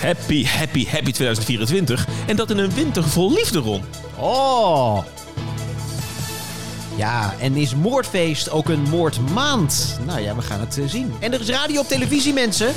Happy, happy, happy 2024. En dat in een winter vol liefde, Ron. Oh. Ja, en is moordfeest ook een moordmaand? Nou ja, we gaan het eh, zien. En er is radio op televisie, mensen.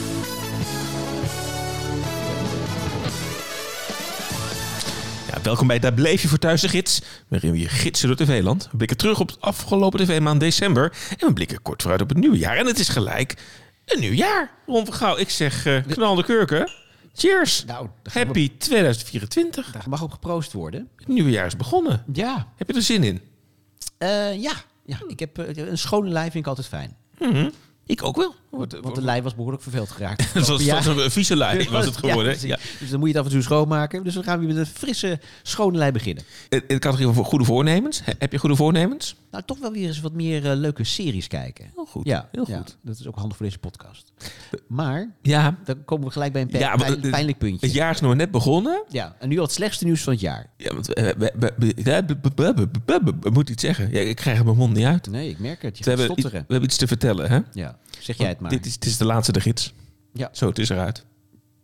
Ja, welkom bij Daar Bleef Je Voor Thuis de Gids, waarin we je gidsen door TV-land. We blikken terug op het afgelopen TV-maand december en we blikken kort vooruit op het nieuwe jaar. En het is gelijk een nieuw jaar. Ron van Gouw, ik zeg eh, knal de kurken. Cheers. Nou, daar gaan we- Happy 2024. Daar mag op geproost worden. Het nieuwe jaar is begonnen. Ja. Heb je er zin in? Eh, ja. ja, ik heb eh, een schone lijn vind ik altijd fijn. Ik ook wel. Want de lijn was behoorlijk verveeld geraakt. Dat was, Ja. dat was een vieze lijn was het Ja, geworden. precies. Ja. Dus dan moet je het af en toe schoonmaken. Dus we gaan weer met een frisse, schone lijn beginnen. In de categorie van goede voornemens. He- Heb je goede voornemens? Nou, toch wel weer eens wat meer eh, leuke series kijken. Heel goed. Ja, Heel ja, goed. dat is ook handig voor deze podcast. Maar Ja. dan komen we gelijk bij een pijn- Ja, maar pijn- het- pijnlijk puntje. Het jaar is nog net begonnen. Ja, en nu al het slechtste nieuws van het jaar. Ja, want eh, we, we, we- ja, b- b- b- b- b- b- moet iets zeggen. Ja, ik krijg het mijn mond niet uit. Nee, ik merk het. Je We gaat hebben, iets, we stotteren. hebben iets te vertellen, hè? Ja, zeg jij het maar. Dit is, dit is de laatste de gids. Ja. Zo, het is eruit.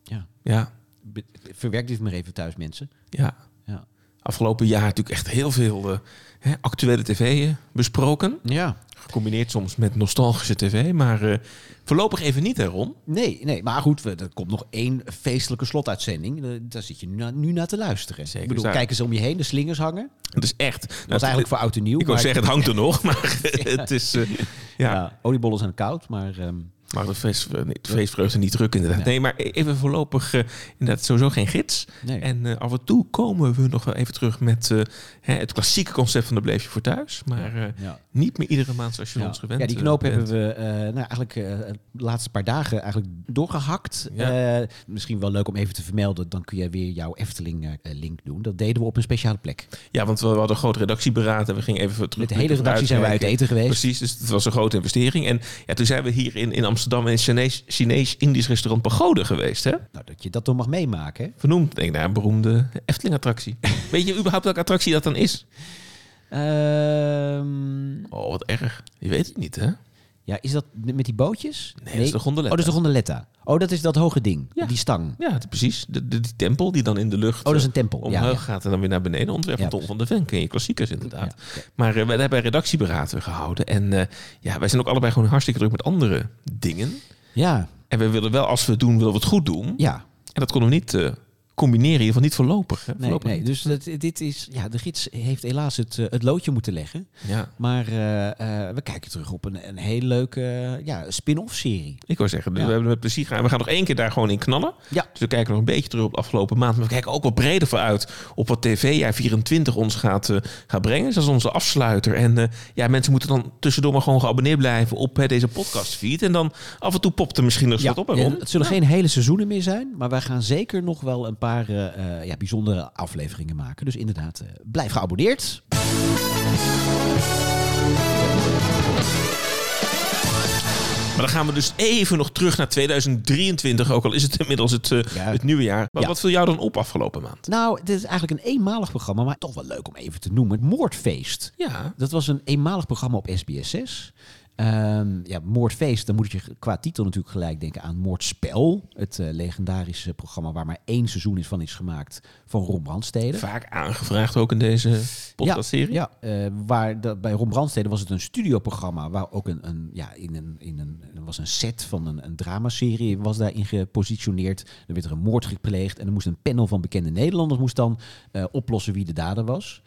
Ja. Ja, Be- Verwerk dit maar even thuis, mensen. ja. Ja. Afgelopen jaar natuurlijk echt heel veel eh, hè, actuele tv eh, besproken. ja. Gecombineerd soms met nostalgische tv. Maar eh, voorlopig even niet, hè Ron? Nee, nee, maar goed, we- er komt nog één feestelijke slotuitzending. Eh, Daar zit je nu, na- nu naar te luisteren. Zeker. Dus ik bedoel, Daar- kijken ze om je heen, de slingers hangen. Dat Het is echt... Dat was eigenlijk voor oud en nieuw. Ik wou maar- zeggen, het hangt er nog, maar het is... eh, ja. ja. oliebollen zijn koud, maar ehm, Maar de, feest, nee, de feestvreugde niet druk inderdaad. Nee, maar e- even voorlopig eh, inderdaad sowieso geen gids. Nee. En eh, af en toe komen we nog wel even terug met eh, hè, het klassieke concept van de bleef je voor thuis. Maar eh, ja. niet meer iedere maand zoals je Ja. ons gewend ja, die eh, knoop bent. hebben we eh, nou, eigenlijk eh, de laatste paar dagen eigenlijk doorgehakt. Ja. Eh, misschien wel leuk om even te vermelden. Dan kun jij weer jouw Efteling-link doen. Dat deden we op een speciale plek. Ja, want we hadden een groot redactieberaad en we gingen even terug. Met de hele redactie zijn we uit eten geweest. Precies, dus het was een grote investering. En ja, toen zijn we hier in, in Amsterdam in een Chinees- Chinees-Indisch restaurant Pagode geweest. Hè? Nou, dat je dat dan mag meemaken. hè? Vernoemd denk ik, naar een beroemde Efteling-attractie. Weet je überhaupt welke attractie dat dan is? Ehm, Oh, wat erg. Je weet het niet, hè? ja, is dat met die bootjes? Nee, dat is de gondoletta. Oh, dat is de gondoletta. Oh, dat is dat hoge ding. Ja. Die stang. Ja, het- precies. De, de- die tempel die dan in de lucht Oh, dat is een eh, tempel. omhoog Ja, ja. gaat en dan weer naar beneden. Ontwerp van Ja. Tom van de Ven, ken je klassiekers inderdaad. Ja, oké. Maar eh, we hebben redactieberaten gehouden. En eh, ja, wij zijn ook allebei gewoon hartstikke druk met andere dingen. Ja, En we willen wel, als we het doen, willen we het goed doen. ja. En dat konden we niet eh, combineren, in ieder geval niet voorlopig. Hè? Nee, Voorlopig nee. niet. Dus dat, dit is, ja, de gids heeft helaas het, eh, het loodje moeten leggen. Ja. Maar eh, eh, we kijken terug op een, een heel leuke eh, ja, spin-off serie. Ik wou zeggen, dus Ja. we hebben het met plezier gedaan. We gaan nog één keer daar gewoon in knallen. Ja. Dus we kijken nog een beetje terug op de afgelopen maand. Maar we kijken ook wat breder vooruit op wat TV-jaar 24 ons gaat, eh, gaat brengen. Dus dat is onze afsluiter. En eh, ja, mensen moeten dan tussendoor maar gewoon geabonneerd blijven op eh, deze podcastfeed. En dan af en toe popt er misschien nog eens wat op. Hè, Ron? het zullen geen hele seizoenen meer zijn, maar wij gaan zeker nog wel een paar eh, eh, ja, bijzondere afleveringen maken. Dus inderdaad, eh, blijf geabonneerd. Maar dan gaan we dus even nog terug naar 2023. Ook al is het inmiddels het, eh, Ja. het nieuwe jaar. Maar Ja. wat viel jou dan op afgelopen maand? Nou, dit is eigenlijk een eenmalig programma, maar toch wel leuk om even te noemen. Het Moordfeest. Ja, Dat was een eenmalig programma op SBS6. Ehm, ja, Moordfeest, dan moet je qua titel natuurlijk gelijk denken aan Moordspel. Het eh, legendarische programma waar maar één seizoen is van is gemaakt van Ron Brandstede. vaak aangevraagd ook in deze podcastserie. Ja, ja. Eh, waar dat bij Ron Brandstede was het een studioprogramma waar ook een, een ja, in een, in een, er was een set van een, een dramaserie was daarin gepositioneerd. Er werd er een moord gepleegd en er moest een panel van bekende Nederlanders moest dan eh, oplossen wie de dader was.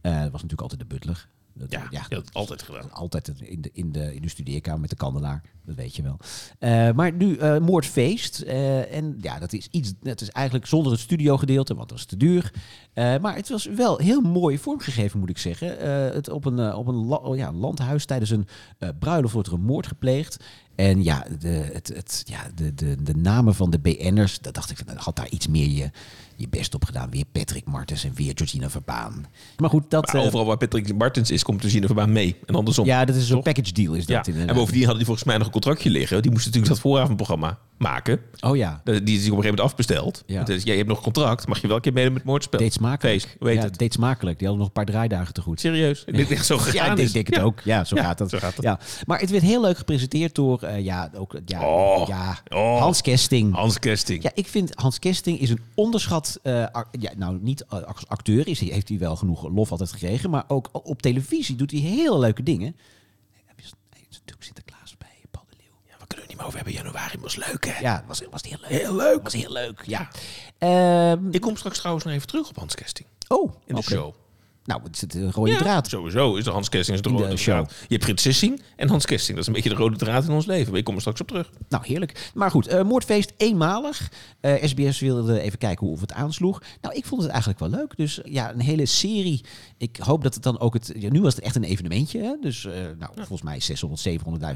Eh, dat was natuurlijk altijd de butler. Dat- Ja, je hebt het altijd gedaan. altijd in de, in, de, in de studeerkamer met de kandelaar. Dat weet je wel. Eh, maar nu eh, Moordfeest. eh, en ja, dat is iets. Dat is eigenlijk zonder het studiogedeelte, want dat is te duur. Eh, maar het was wel heel mooi vormgegeven, moet ik zeggen. Eh, het op een, eh, op een, la- oh ja, een landhuis tijdens een eh, bruiloft wordt er een moord gepleegd. En ja, de, het, het, ja de, de, de namen van de BN'ers, dat dacht ik, van, nou, had daar iets meer je, je best op gedaan. Weer Patrick Martens en weer Georgina Verbaan. Maar goed, dat... Maar eh, overal waar Patrick Martens is, komt Lucine Verbaan mee. En andersom. ja, dat is een package deal is Ja, dat. en inderdaad. bovendien hadden die volgens mij nog een contractje liggen. Die moesten natuurlijk dat vooravondprogramma maken. Oh ja. Dat- Die is op een gegeven moment afbesteld. Ja. Dus ja, je hebt nog contract. Mag je wel een keer meedoen met het moordspel? Deed smakelijk. Feest, weet ja, het. deed smakelijk. Die hadden nog een paar draaidagen te goed. Serieus. Dit is echt zo gegaan. Ja, ik denk, is. denk het Ja. ook. Ja, zo Ja, gaat dat. zo gaat dat. Ja. Maar het werd heel leuk gepresenteerd door eh, ja, ook, ja, Oh. ja, Oh. Hans Kesting. Hans Kesting. Ja, ik vind Hans Kesting is een onderschat. eh, ac- ja, nou, niet eh, als acteur is, hij- heeft hij wel genoeg lof altijd gekregen. Maar ook op televisie doet hij hele leuke dingen. Nee, heb je z- nee, het is natuurlijk Sinterklaas bij Paul de Leeuw. Ja, we kunnen het niet meer over hebben. Januari was leuk, hè? Ja, was, was heel leuk. Heel leuk. Was heel leuk, ja. Ehm, Ik kom straks trouwens nog even terug op Hans Kesting. oh, In de oké. show. Nou, het zit een rode Ja, draad. Sowieso is de Hans Kesting is de In de rode show. draad. Je hebt Frits Sissing en Hans Kesting. Dat is een beetje de rode draad in ons leven. Maar Ik kom er straks op terug. Nou, heerlijk. Maar goed, eh, moordfeest eenmalig. Eh, SBS wilde even kijken hoe of het aansloeg. Nou, ik vond het eigenlijk wel leuk. Dus ja, een hele serie. Ik hoop dat het dan ook het... Ja, nu was het echt een evenementje. Hè? Dus eh, nou, volgens mij 600,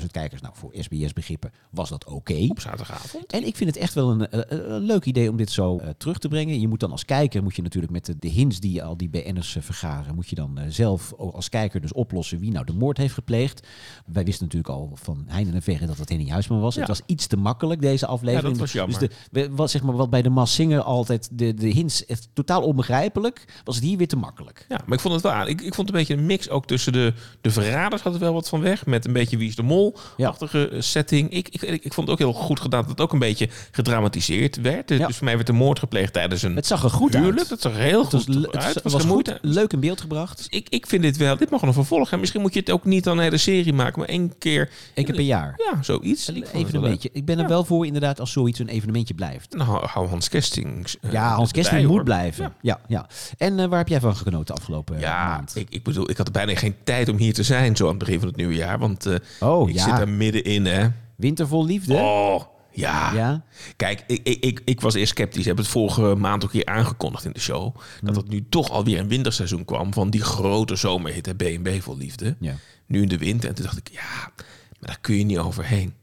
700.000 kijkers. Nou, voor SBS begrippen was dat oké. Op zaterdagavond. En ik vind het echt wel een, eh, eh, een leuk idee om dit zo eh, terug te brengen. Je moet dan als kijker, moet je natuurlijk met de, de hints die je al die BN'ers eh, vergaren, moet je dan eh, zelf o- als kijker dus oplossen wie nou de moord heeft gepleegd. Wij wisten natuurlijk al van Heijn en Verre dat het Henny Huisman was. Ja. Het was iets te makkelijk deze aflevering. Ja, dat was jammer. Dus de, we- wat, zeg maar, wat bij de Mas Singer altijd de, de hints echt totaal onbegrijpelijk, was het hier weer te makkelijk. Ja, maar ik vond het wel aan. Ik, ik vond een beetje een mix ook tussen de, de verraders had er wel wat van weg. Met een beetje Wie is de Mol-achtige eh, setting. Ik, ik, ik ik vond het ook heel goed gedaan dat het ook een beetje gedramatiseerd werd. Dus, Ja. dus voor mij werd de moord gepleegd tijdens een Het zag er goed huwelijk. uit. Dat zag er heel Het was, goed le- uit. het Het was, geen moeite. goed, leuk in beeld gebracht. Ik, ik vind dit wel, dit mag een vervolg. En misschien moet je het ook niet dan een hele serie maken, maar één keer. Eén keer per jaar. Ja, zoiets. Ik Een vond het wel evenementje. Ik ben er wel voor inderdaad als zoiets een evenementje blijft. leuk. Nou, hou Hans Kesting. eh, Ja, Hans erbij, Kesting moet hoor. blijven. Ja. Ja. Ja, En eh, waar heb jij van genoten afgelopen eh, Ja, maand? ik, ik bedoel, ik had bijna geen tijd om hier te zijn zo aan het begin van het nieuwe jaar. Want eh, Oh, ik ja. zit daar middenin, hè. Winter vol liefde. Oh, ja. Ja. Kijk, ik, ik, ik, ik was eerst sceptisch. Ik heb het vorige maand ook hier aangekondigd in de show. Hm. Dat het nu toch alweer een winterseizoen kwam van die grote zomerhitte B&B vol liefde. Ja. Nu in de winter. En toen dacht ik, ja, maar daar kun je niet overheen.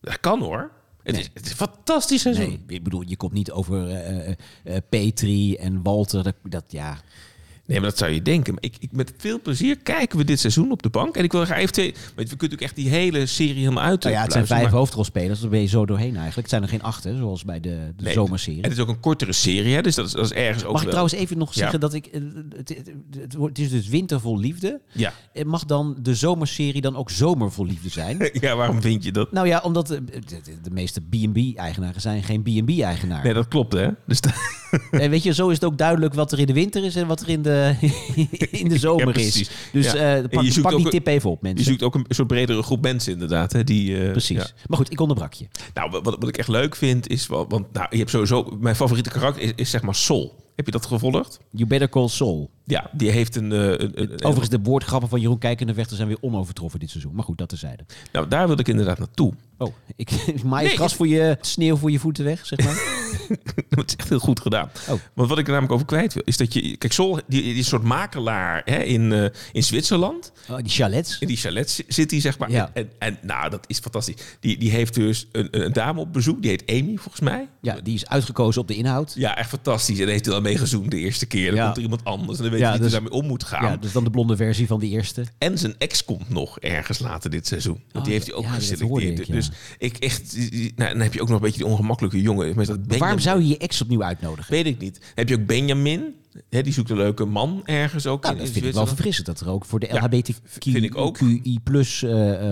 Dat kan hoor. Het, is, het is een fantastisch seizoen. Nee, ik bedoel, je komt niet over eh, eh, eh, Petri en Walter. Dat, dat ja. Nee, maar dat zou je denken. Maar ik, ik, met veel plezier kijken we dit seizoen op de bank. En ik wil graag even twee... Want we kunnen ook echt die hele serie helemaal uit. Nou ja, het zijn pluizen, vijf maar- hoofdrolspelers. Daar ben je zo doorheen eigenlijk. Het zijn er geen acht, hè, zoals bij de, de Nee, zomerserie. Het is ook een kortere serie, hè, dus dat is, dat is ergens ook Mag ik wel- trouwens even nog Ja. zeggen dat ik... eh, Het, het, het wordt- het is dus winter vol liefde. Ja. Eh, Mag dan de zomerserie dan ook zomer vol liefde zijn? Ja, waarom vind je dat? nou ja, omdat eh, de, de- de meeste B&B-eigenaren zijn geen B&B-eigenaar. Nee, dat klopt, hè? Dus da- En weet je, zo is het ook duidelijk wat er in de winter is en wat er in de, in de zomer Ja, is. precies. Dus Ja. eh, En pak, je zoekt pak ook die een- tip even op, je mensen. zoekt ook een soort bredere groep mensen inderdaad. Hè, die, eh, Precies. ja. Maar goed, ik onderbrak je. Nou, wat, wat ik echt leuk vind is... wel- Want nou, je hebt sowieso... Mijn favoriete karakter is, is zeg maar Sol. Heb je dat gevolgd? You better call Saul. Ja, die heeft een... eh, een- een- een- Overigens, de woordgrappen van Jeroen Kijkendervechter zijn weer onovertroffen dit seizoen. Maar goed, dat terzijde. Nou, daar wil ik inderdaad naartoe. Oh, ik, ik maai het Nee, gras voor je, sneeuw voor je voeten weg, zeg maar. Dat is echt heel goed gedaan. Oh. Want wat ik er namelijk over kwijt wil, is dat je... Kijk, Sol, die, die is een soort makelaar hè, in, eh, in Zwitserland. Oh, die chalets. In die chalet zi- zit hij, zeg maar. Ja. En, en nou, dat is fantastisch. Die, die heeft dus een, een dame op bezoek. Die heet Amy, volgens mij. Ja, die is uitgekozen op de inhoud. Ja, echt fantastisch. En heeft hij al meegezoend de eerste keer. Dan Ja. komt er iemand anders en dan weet Ja, je niet dus- hoe hij daarmee om moet gaan. Ja, dus dan de blonde versie van die eerste. En zijn ex komt nog ergens later dit seizoen. Want Oh, die heeft ja, hij ook ja, dat geselecteerd. hoorde ik, ja. Dus ik echt... Nou, dan heb je ook nog een beetje die ongemakkelijke jongen. Met dat Waarom Benjamin. zou je je ex opnieuw uitnodigen? Weet ik niet. Dan heb je ook Benjamin. Hè, die zoekt een leuke man ergens ook. Nou, in- dat in vind ik wel Zwitserland. verfrissend dat er ook voor de Ja, vind ik ook. LHBTQI-plus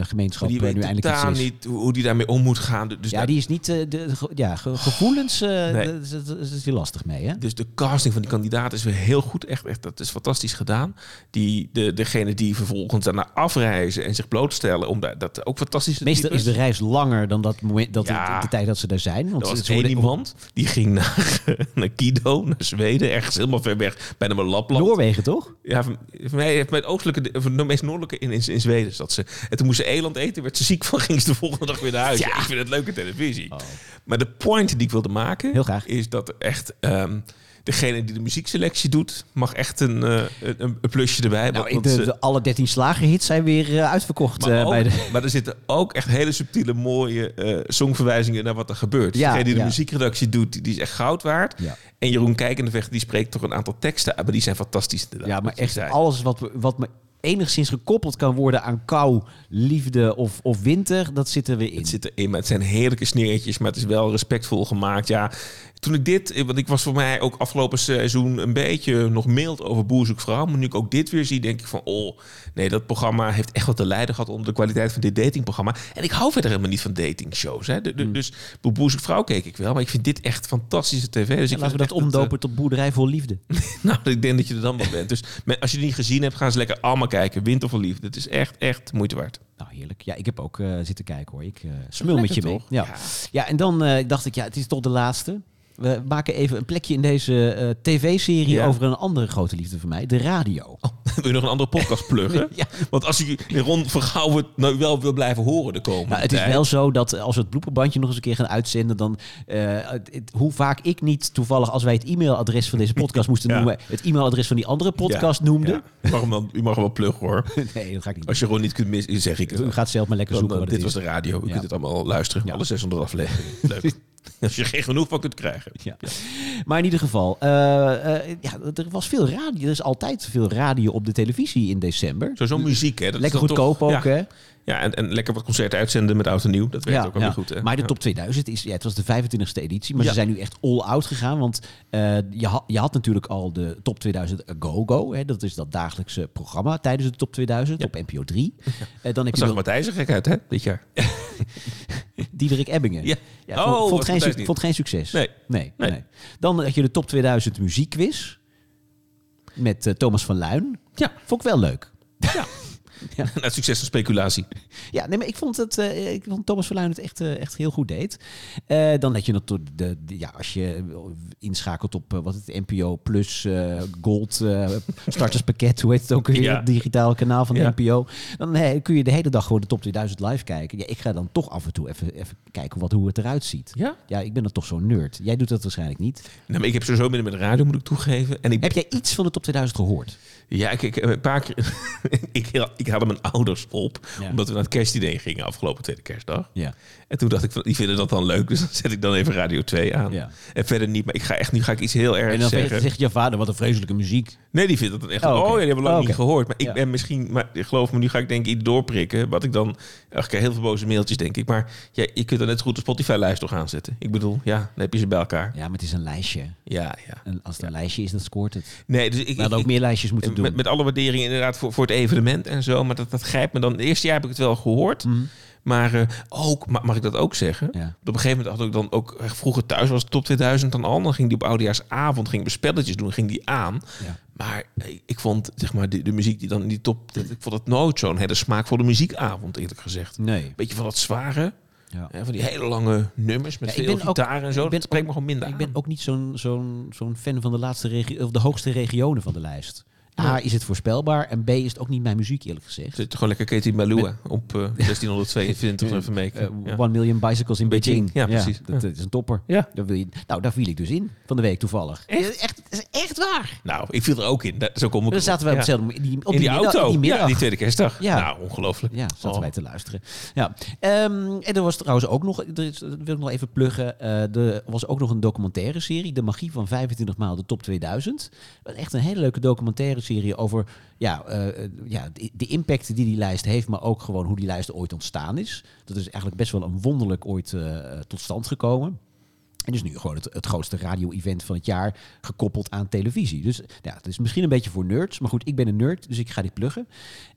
gemeenschap Die eh, nu weet eindelijk iets totaal is. niet hoe hoe die daarmee om moet gaan. Dus, Ja, nou, die is niet. eh, de, ge- ja, ge- gevoelens. eh Nee. dat is- dat is heel lastig mee, hè? dus de casting van die kandidaat is weer heel goed. Echt, echt dat is fantastisch gedaan. Die, de, degene die vervolgens daarna afreizen en zich blootstellen. Om daar, dat ook fantastisch Meestal is de reis langer dan dat moment, dat Ja. de, de tijd dat ze daar zijn. Want Er ze- was ze één worden- iemand die ging naar, naar Kido, naar Zweden, ergens helemaal ver weg, bijna bij Lapland. Noorwegen, toch? ja, van, van mij heeft mijn oostelijke, of de meest noordelijke in, in, in Zweden zat ze. En toen moest ze eland eten, werd ze ziek van, ging ze de volgende dag weer naar huis. Ja. Ik vind het leuke televisie. Nou, Maar de point die ik wilde maken, Oh. Heel graag. is dat er echt ehm, degene die de muziekselectie doet, mag echt een, eh, een, een plusje erbij. Nou, want de, ze- de alle 13 slagerhits zijn weer eh, uitverkocht. maar, eh, ook- bij de, maar er zitten ook echt hele subtiele, mooie eh, songverwijzingen naar wat er gebeurt. Ja, Degene die de ja. muziekredactie doet, die, die is echt goud waard. Ja. En ah, Jeroen Kijkendevecht, die spreekt toch een aantal teksten uit. Maar die zijn fantastisch inderdaad. ja, maar wat je echt zei. alles wat, me- wat me enigszins gekoppeld kan worden aan kou, liefde of, of winter, dat zit er weer in. Het zit erin, maar het zijn heerlijke sneertjes, maar het is wel respectvol gemaakt. Ja, toen ik dit, want ik was voor mij ook afgelopen seizoen een beetje nog mild over Boer zoekt vrouw, maar nu ik ook dit weer zie, denk ik van, oh, nee, dat programma heeft echt wat te lijden gehad onder de kwaliteit van dit datingprogramma. En ik hou verder helemaal niet van datingshows, hè. De- Hmm. de- Dus Boer zoekt vrouw keek ik wel, maar ik vind dit echt fantastische tv. Dus ik En laten we vind dat echt eh, omdopen tot boerderij vol liefde. nou, ik denk dat je er dan wel bent. Dus men- als je het niet gezien hebt, gaan ze lekker allemaal kijken. Wind of liefde. Het is echt, echt moeite waard. Nou, heerlijk. Ja, ik heb ook eh, zitten kijken hoor. Ik eh, smul met je Lekker, mee. toch? Ja. Ja. Ja. en dan eh, dacht ik, ja, het is toch de laatste. We maken even een plekje in deze eh, tv-serie Ja. Oh. over een andere grote liefde van mij, de radio. Wil je nog een andere podcast pluggen? Ja. Want als ik Ron van Gouwen nou wel wil blijven horen de komende Nou, het is tijd. wel zo dat eh, als we het blooperbandje nog eens een keer gaan uitzenden, dan eh, het- het- hoe vaak ik niet toevallig, als wij het e-mailadres van deze podcast moesten Ja. noemen, het e-mailadres van die andere podcast Ja, noemde. ja. Je Mag hem dan, u mag hem wel pluggen hoor. Nee, dat ga ik niet. Als je Ron niet kunt missen, zeg ik het. doen. U gaat zelf maar lekker Dan, zoeken. eh, wat dit het was is. de radio. U Ja. kunt het allemaal luisteren. Ja. Alle 600 afleveringen. Leuk. Als je er geen genoeg van kunt krijgen. Ja. Maar in ieder geval, eh, eh, ja, er was veel radio. Er is altijd veel radio op de televisie in december. Zo, zo'n muziek, hè? Dat is Lekker dan toch- goedkoop ook, Ja, hè? ja en, en lekker wat concerten uitzenden met oud en nieuw. Dat werkt ook wel weer goed, hè? Maar de Ja. top 2000 is, ja, het was de 25e editie, maar Ja. ze zijn nu echt all-out gegaan. Want eh, je, ha- je had natuurlijk al de top 2000 Go-Go. hè, Dat is dat dagelijkse programma tijdens de top 2000 op NPO 3. Eh, dan heb Dat je zag nog Matthijs er gek uit, hè? Dit jaar. Diederik Ebbingen. Ja. Ja, Oh, vond, was vond, geen, Matthijs suc- niet. vond geen succes. Nee. Nee, Nee. nee. Dan had je de top 2000 muziekquiz met eh, Thomas van Luin. Ja. Vond ik wel leuk. Na het succes van speculatie. Ja, nee, maar ik vond, het, eh, ik vond Thomas Verluin het echt, eh, echt heel goed deed. Eh, dan dat je natuurlijk, de, de- ja, als je eh, inschakelt op eh, wat het NPO Plus eh, Gold eh, starterspakket, hoe heet het ook weer, Ja. het digitale kanaal van de Ja. NPO. Dan eh, kun je de hele dag gewoon de top 2000 live kijken. Ja, ik ga dan toch af en toe even, even kijken wat, hoe het eruit ziet. Ja? Ja, ik ben dan toch zo'n nerd. Jij doet dat waarschijnlijk niet. Nou, maar ik heb sowieso minder met de radio, moet ik toegeven. En ik, Heb jij iets van de top 2000 gehoord? ja, ik, ik, een paar keer, ik, ik haalde mijn ouders op, Ja. omdat we naar het kerstdiner gingen afgelopen tweede kerstdag. Ja. En toen dacht ik, van, die vinden dat dan leuk, dus dan zet ik dan even Radio 2 aan. Ja. En verder niet, maar ik ga echt, nu ga ik iets heel En ergs dan zeggen. zegt je vader, wat een vreselijke muziek. Nee, die vindt dat dan echt, Oh, oh, oké. ja, die hebben we lang Oh, oké. niet gehoord. Maar ik Ja. ben misschien, maar geloof me, nu ga ik denk ik iets doorprikken, wat ik dan, ik krijg heel veel boze mailtjes denk ik, maar ja, je kunt dan net zo goed de Spotify-lijst toch aanzetten. Ik bedoel, ja, dan heb je ze bij elkaar. Ja, maar het is een lijstje. Ja, ja. En als het een lijstje is, dan scoort het. Nee, dus ik, We ik- hadden ook ik- meer lijstjes moeten doen. Met, met alle waardering inderdaad voor, voor het evenement en zo. Maar dat, dat grijpt me dan. Het eerste jaar heb ik het wel gehoord. Maar eh, ook, ma- mag ik dat ook zeggen? Mhm. Ja. Op een gegeven moment had ik dan ook... eh, Vroeger thuis was het top 2000 dan al. Dan ging die op oudejaarsavond ging ik spelletjes doen. Ging die aan. Ja. Maar eh, ik vond zeg maar, de, de muziek die dan in die top... dat- ik vond het nooit zo'n hele smaakvolle muziekavond eerlijk gezegd. Nee. Beetje van dat zware. Ja. Hè, van die hele lange nummers met Ja, ik veel ben ook- gitaar en zo. ik ben dat spreekt me ook- gewoon minder Ik aan. ben ook niet zo'n zo'n zo'n fan van de, laatste regio of de hoogste regionen van de lijst. A, is het voorspelbaar en B, is het ook niet mijn muziek eerlijk gezegd. Zit gewoon lekker Katie Malua op eh 1622 even meeken. Eh, Ja. One Million Bicycles in Beijing. Beijing. Ja, precies. Dat, dat is een topper. Ja. Daar wil je, nou, daar viel ik dus in van de week toevallig. Echt? Echt, dat is echt waar. Nou, ik viel er ook in. Daar- Zo kom ik Dan erop. zaten we op, Ja. hetzelfde, moment- die, op in die, middag- auto. die middag. ja, die tweede kerstdag. Ja. Nou, ongelooflijk. Ja, zaten Oh. wij te luisteren. Ja. Ehm, en er was trouwens ook nog, er is- dat wil ik nog even pluggen, eh, er was ook nog een documentaire serie, De Magie van 25 maal de top 2000. Dat was echt een hele leuke documentaire serie over ja, eh, eh, ja, de, de impact die die lijst heeft, maar ook gewoon hoe die lijst ooit ontstaan is. Dat is eigenlijk best wel een wonderlijk ooit eh, tot stand gekomen. En is nu gewoon het, het grootste radio-event van het jaar gekoppeld aan televisie. Dus ja, het is misschien een beetje voor nerds. Maar goed, ik ben een nerd, dus ik ga dit pluggen.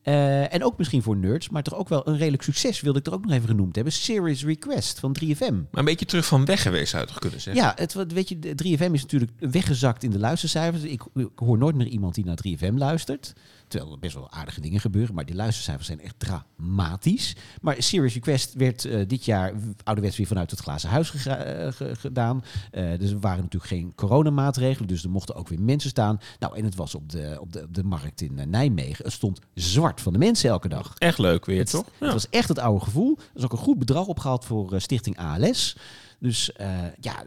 Eh, en ook misschien voor nerds, maar toch ook wel een redelijk succes wilde ik er ook nog even genoemd hebben. Series Request van 3FM. Maar een beetje terug van weg geweest zou je toch kunnen zeggen. Ja, het, wat- weet je, de 3FM is natuurlijk weggezakt in de luistercijfers. Ik, ik hoor nooit meer iemand die naar 3FM luistert. Terwijl er best wel aardige dingen gebeuren, maar die luistercijfers zijn echt dramatisch. Maar Serious Request werd eh, dit jaar w- ouderwets weer vanuit het glazen huis gega- eh, ge- gedaan. Eh, dus er waren natuurlijk geen coronamaatregelen, dus er mochten ook weer mensen staan. Nou, en het was op de, op de, op de markt in eh, Nijmegen. Het stond zwart van de mensen elke dag. Echt leuk weer, Het, toch? Ja. het was echt het oude gevoel. Er is ook een goed bedrag opgehaald voor eh, Stichting ALS. Dus eh, ja,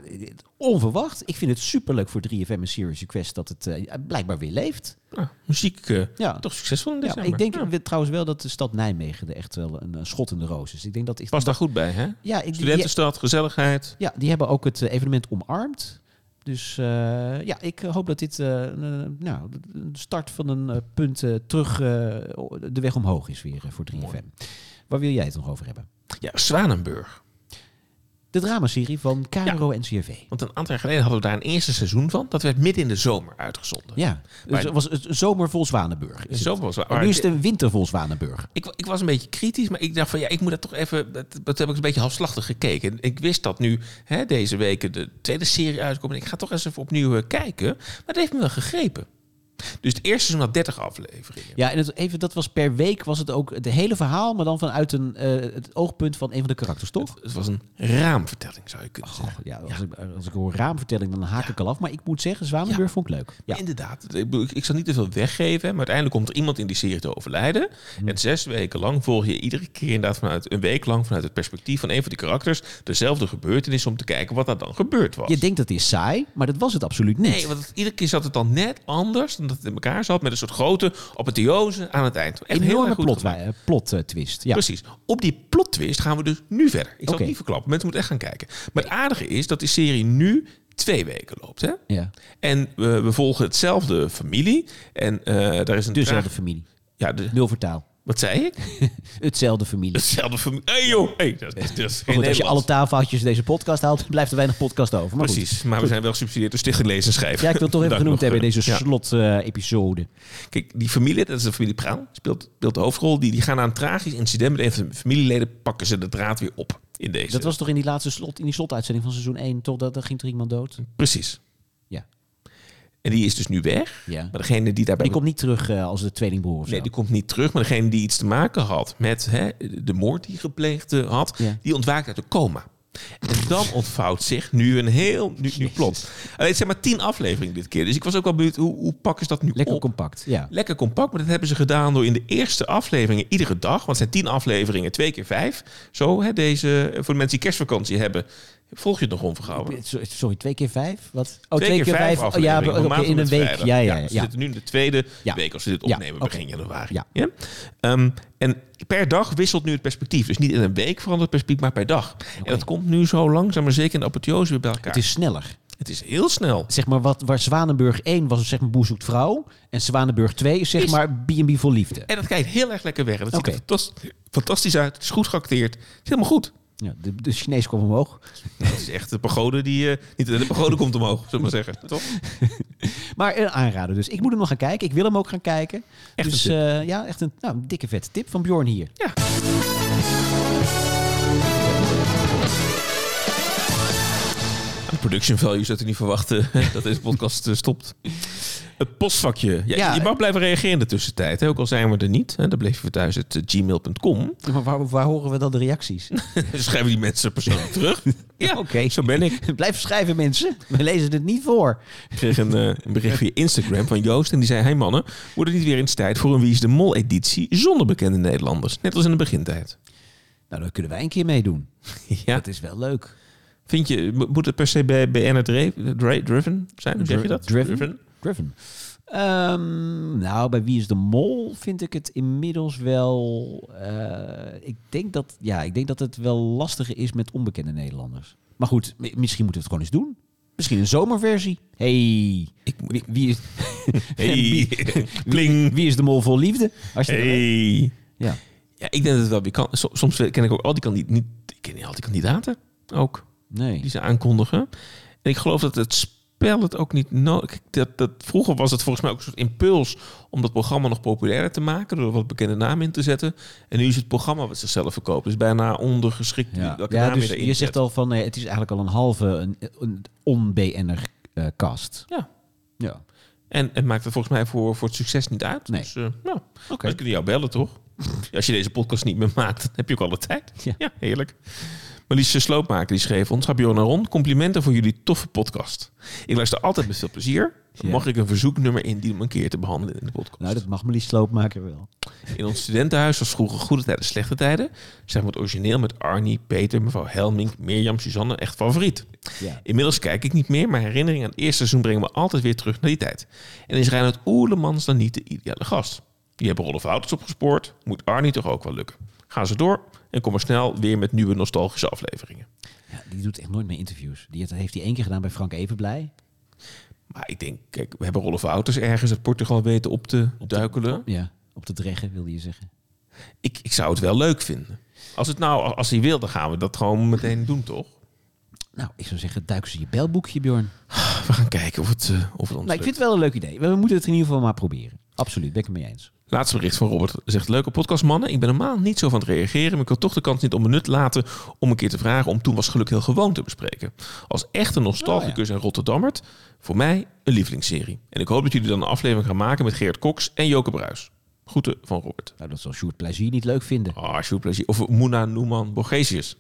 onverwacht. Ik vind het superleuk voor 3FM en Serious Request dat het eh, blijkbaar weer leeft. Nou, muziek eh, Ja. toch succesvol in Ja, december. ik denk Ja. we- trouwens wel dat de stad Nijmegen er echt wel een eh, schot in de roos is. Ik denk dat ik, Past daar goed bij, hè? ja, ik, die, Studentenstad, gezelligheid. ja, die hebben ook het eh, evenement omarmd. Dus eh, ja, ik hoop dat dit eh, een, een- nou, een start van een eh, punt eh, terug eh, o- de weg omhoog is weer eh, voor 3FM. Waar wil jij het nog over hebben? Ja, Zwanenburg. De dramaserie van KRO NCRV. Want een aantal jaar geleden hadden we daar een eerste seizoen van. Dat werd midden in de zomer uitgezonden. Ja, dus Maar- het was het zomer vol Zwanenburg. De Is het. zomer was wel- En nu is het een winter vol Zwanenburg. Ik, wa- ik was een beetje kritisch, maar ik dacht van ja, ik moet dat toch even. Dat, dat heb ik een beetje halfslachtig gekeken. Ik wist dat nu hè, deze weken de tweede serie uitkomt. En ik ga toch eens even opnieuw eh, kijken. Maar dat heeft me wel gegrepen. Dus het eerste seizoen had 30 afleveringen. Ja, en het, even, dat was per week was het ook het hele verhaal, maar dan vanuit een, eh, het oogpunt van een van de karakters, toch? Het was een raamvertelling, zou je kunnen zeggen. Ja, als, Ik, als ik hoor raamvertelling, dan haak ik al af. Maar ik moet zeggen, Zwanenburg vond ik leuk. Ja. Inderdaad. Ik, bedoel, ik- ik zal niet te veel weggeven, hè, maar uiteindelijk komt er iemand in die serie te overlijden. Mhm. En zes weken lang volg je iedere keer inderdaad vanuit een week lang vanuit het perspectief van een van die karakters dezelfde gebeurtenis om te kijken wat daar dan gebeurd was. Je denkt dat is saai, maar dat was het absoluut niet. Nee, want het- iedere keer zat het dan net anders dan dat het in elkaar zat. Met een soort grote apotheose aan het eind. Echt heel Enorme erg goed plot, gedaan. eh, plot eh, twist. Ja. Precies. Op die plot twist gaan we dus nu verder. Ik zal Oké. het niet verklappen. Mensen moeten echt gaan kijken. Maar het aardige is dat die serie nu twee weken loopt. Hè? Ja. En eh, we volgen hetzelfde familie. En eh, daar is een... Dezelfde traag- familie. Ja, de- Nul vertaal. wat zei ik? Hetzelfde familie. Hetzelfde familie. Hé joh! Hey, dat, dat is geen Maar goed, als je alle Nederlands. taalfoutjes in deze podcast haalt, blijft er weinig podcast over. Maar goed. Precies. Maar we zijn wel gesubsidieerd door Stichting Lezen en Schrijven. Ja, ik wil het toch even Dank genoemd nog, hebben in eh, deze ja. slot-episode. Kijk, die familie, dat is de familie Praal, speelt, speelt de hoofdrol. Die, die gaan aan een tragisch incident met een van de familieleden, pakken ze de draad weer op in deze. dat was toch in die laatste slot, in die slotuitzending van seizoen 1, toch? Dat, dat ging er iemand dood? Precies. Ja. En die is dus nu weg. Ja. Maar degene die daarbij... Die komt niet terug eh, als de tweelingbroer of zo. nee, die komt niet terug. Maar degene die iets te maken had met hè, de moord die gepleegd eh, had, Ja. die ontwaakt uit de coma. En dan ontvouwt zich nu een heel... Nu, nu plot. Alleen het zijn maar tien afleveringen dit keer. Dus ik was ook wel benieuwd, hoe, hoe pakken ze dat nu Lekker op? compact, ja. Lekker compact, maar dat hebben ze gedaan door in de eerste afleveringen iedere dag, want het zijn tien afleveringen, twee keer vijf. Zo, hè, deze, eh, voor de mensen die kerstvakantie hebben, volg je het nog onverhouden. So- Sorry, twee keer vijf? Wat? Oh, Oh, ja, afleveringen, oké, van maandag in een tot en week. met Ja, vrijdag. dus ja, ja. Ze zitten nu in de tweede Ja. week als ze dit Ja, opnemen, oké. begin januari. Ja. Ehm, en per dag wisselt nu het perspectief. Dus niet in een week verandert het perspectief, maar per dag. En dat komt nu zo langzaam, maar zeker in de apotheose weer bij elkaar. Het is sneller. het is heel snel. Zeg maar, wat, waar Zwanenburg 1 was, zeg maar, Boer zoekt vrouw. En Zwanenburg 2 is, zeg Is- maar, B&B voor liefde. En dat kijkt heel erg lekker weg. En Dat Oké. ziet er fantas- fantastisch uit. Het is goed geacteerd. Het is helemaal goed. Ja, de, de Chinees kwam omhoog. Het is echt de pagode die... eh, niet, de pagode komt omhoog, zullen we maar zeggen. Toch? Maar een aanrader dus. Ik moet hem nog gaan kijken. Ik wil hem ook gaan kijken. Echt dus een tip. eh, ja, echt een nou, een dikke vette tip van Bjorn hier. Ja. Aan Production value zou je niet verwachten dat deze podcast eh, stopt. Het postvakje. Ja, Ja. je mag blijven reageren in de tussentijd. Hè? Ook al zijn we er niet. Hè? Dan bleef je voor thuis het eh, gmail.com. Maar waar, waar horen we dan de reacties? Schrijven die mensen persoonlijk terug. Ja, Oké. zo ben ik. Blijf schrijven, mensen. We lezen het niet voor. Ik kreeg een, eh, een bericht via Instagram van Joost. En die zei: Hey mannen, wordt het niet weer eens tijd voor een Wie is de Mol-editie zonder bekende Nederlanders? Net als in de begintijd. Nou, dan kunnen wij een keer meedoen. Ja. Dat is wel leuk. Vind je, mo- moet het per se bij BNR dre- dre- driven zijn? Hoe zeg je dat? Driven? Driven. Ehm, nou, bij Wie is de Mol vind ik het inmiddels wel... eh, ik, denk dat, ja, ik denk dat het wel lastiger is met onbekende Nederlanders. Maar goed, mi- misschien moeten we het gewoon eens doen. Misschien een zomerversie. hey, Ik, wie, wie is... hey, wie, kling. wie is de mol vol liefde? Als je Hey. ja. Ja, ik denk dat het wel weer kan. So- Soms ken ik ook al die, kandi- niet, ik ken niet al die kandidaten ook, die Nee. ze aankondigen. En ik geloof dat het spel het ook niet nodig... Dat, dat, vroeger was het volgens mij ook een soort impuls om dat programma nog populairder te maken, door er wat bekende namen in te zetten. En nu is het programma wat zichzelf verkoopt. Dus bijna ondergeschikt Ja, ja. welke ja naam dus je erin je zet. zegt al van... eh, het is eigenlijk al een halve een, een on-BN'er eh, cast. Ja. Ja. En het maakt het volgens mij voor, voor het succes niet uit. Nee. Dus, eh, nou, Oké. we kunnen jou bellen, toch? Als je deze podcast niet meer maakt, dan heb je ook alle tijd. Ja. Ja, heerlijk. Marlies Sloopmaker die schreef ons... Bjorn en Ron, complimenten voor jullie toffe podcast. Ik luister altijd met veel plezier. Dan Ja. mag ik een verzoeknummer indienen om een keer te behandelen in de podcast. Nou, dat mag Melis Sloopmaker wel. In ons studentenhuis was vroeger goede tijden, slechte tijden. Zijn we het origineel met Arnie, Peter, mevrouw Helmink, Mirjam, Suzanne echt favoriet. Ja. Inmiddels kijk ik niet meer, maar herinneringen aan het eerste seizoen brengen me altijd weer terug naar die tijd. En is Reinhard Oerlemans dan niet de ideale gast? Die hebben Rolf Wouters opgespoord, moet Arnie toch ook wel lukken. Ga ze door en kom maar snel weer met nieuwe nostalgische afleveringen. Ja, die doet echt nooit meer interviews. Die heeft, heeft hij één keer gedaan bij Frank Evenblij. Maar ik denk, kijk, we hebben rollen voor auto's ergens uit Portugal weten op te duikelen. Ja, op de dreggen wilde je zeggen. Ik, ik zou het wel leuk vinden. Als, het nou, als hij wil, dan gaan we dat gewoon meteen doen, toch? Nou, ik zou zeggen, duik ze in je belboekje, Bjorn. We gaan kijken of het, eh, of het ons Nou, ik lukt. vind het wel een leuk idee. We moeten het in ieder geval maar proberen. Absoluut, ben ik het mee eens. Laatste bericht van Robert. Zegt, leuke podcast mannen. Ik ben normaal niet zo van het reageren. Maar ik wil toch de kans niet onbenut laten om een keer te vragen om Toen Was Geluk Heel Gewoon te bespreken. Als echte nostalgicus en Rotterdammert, voor mij een lievelingsserie. En ik hoop dat jullie dan een aflevering gaan maken met Geert Koks en Joke Bruis. Groeten van Robert. Nou, dat zal Sjoerd Plezier niet leuk vinden. Ah, oh, plezier. Of Moena Noeman Borgesius.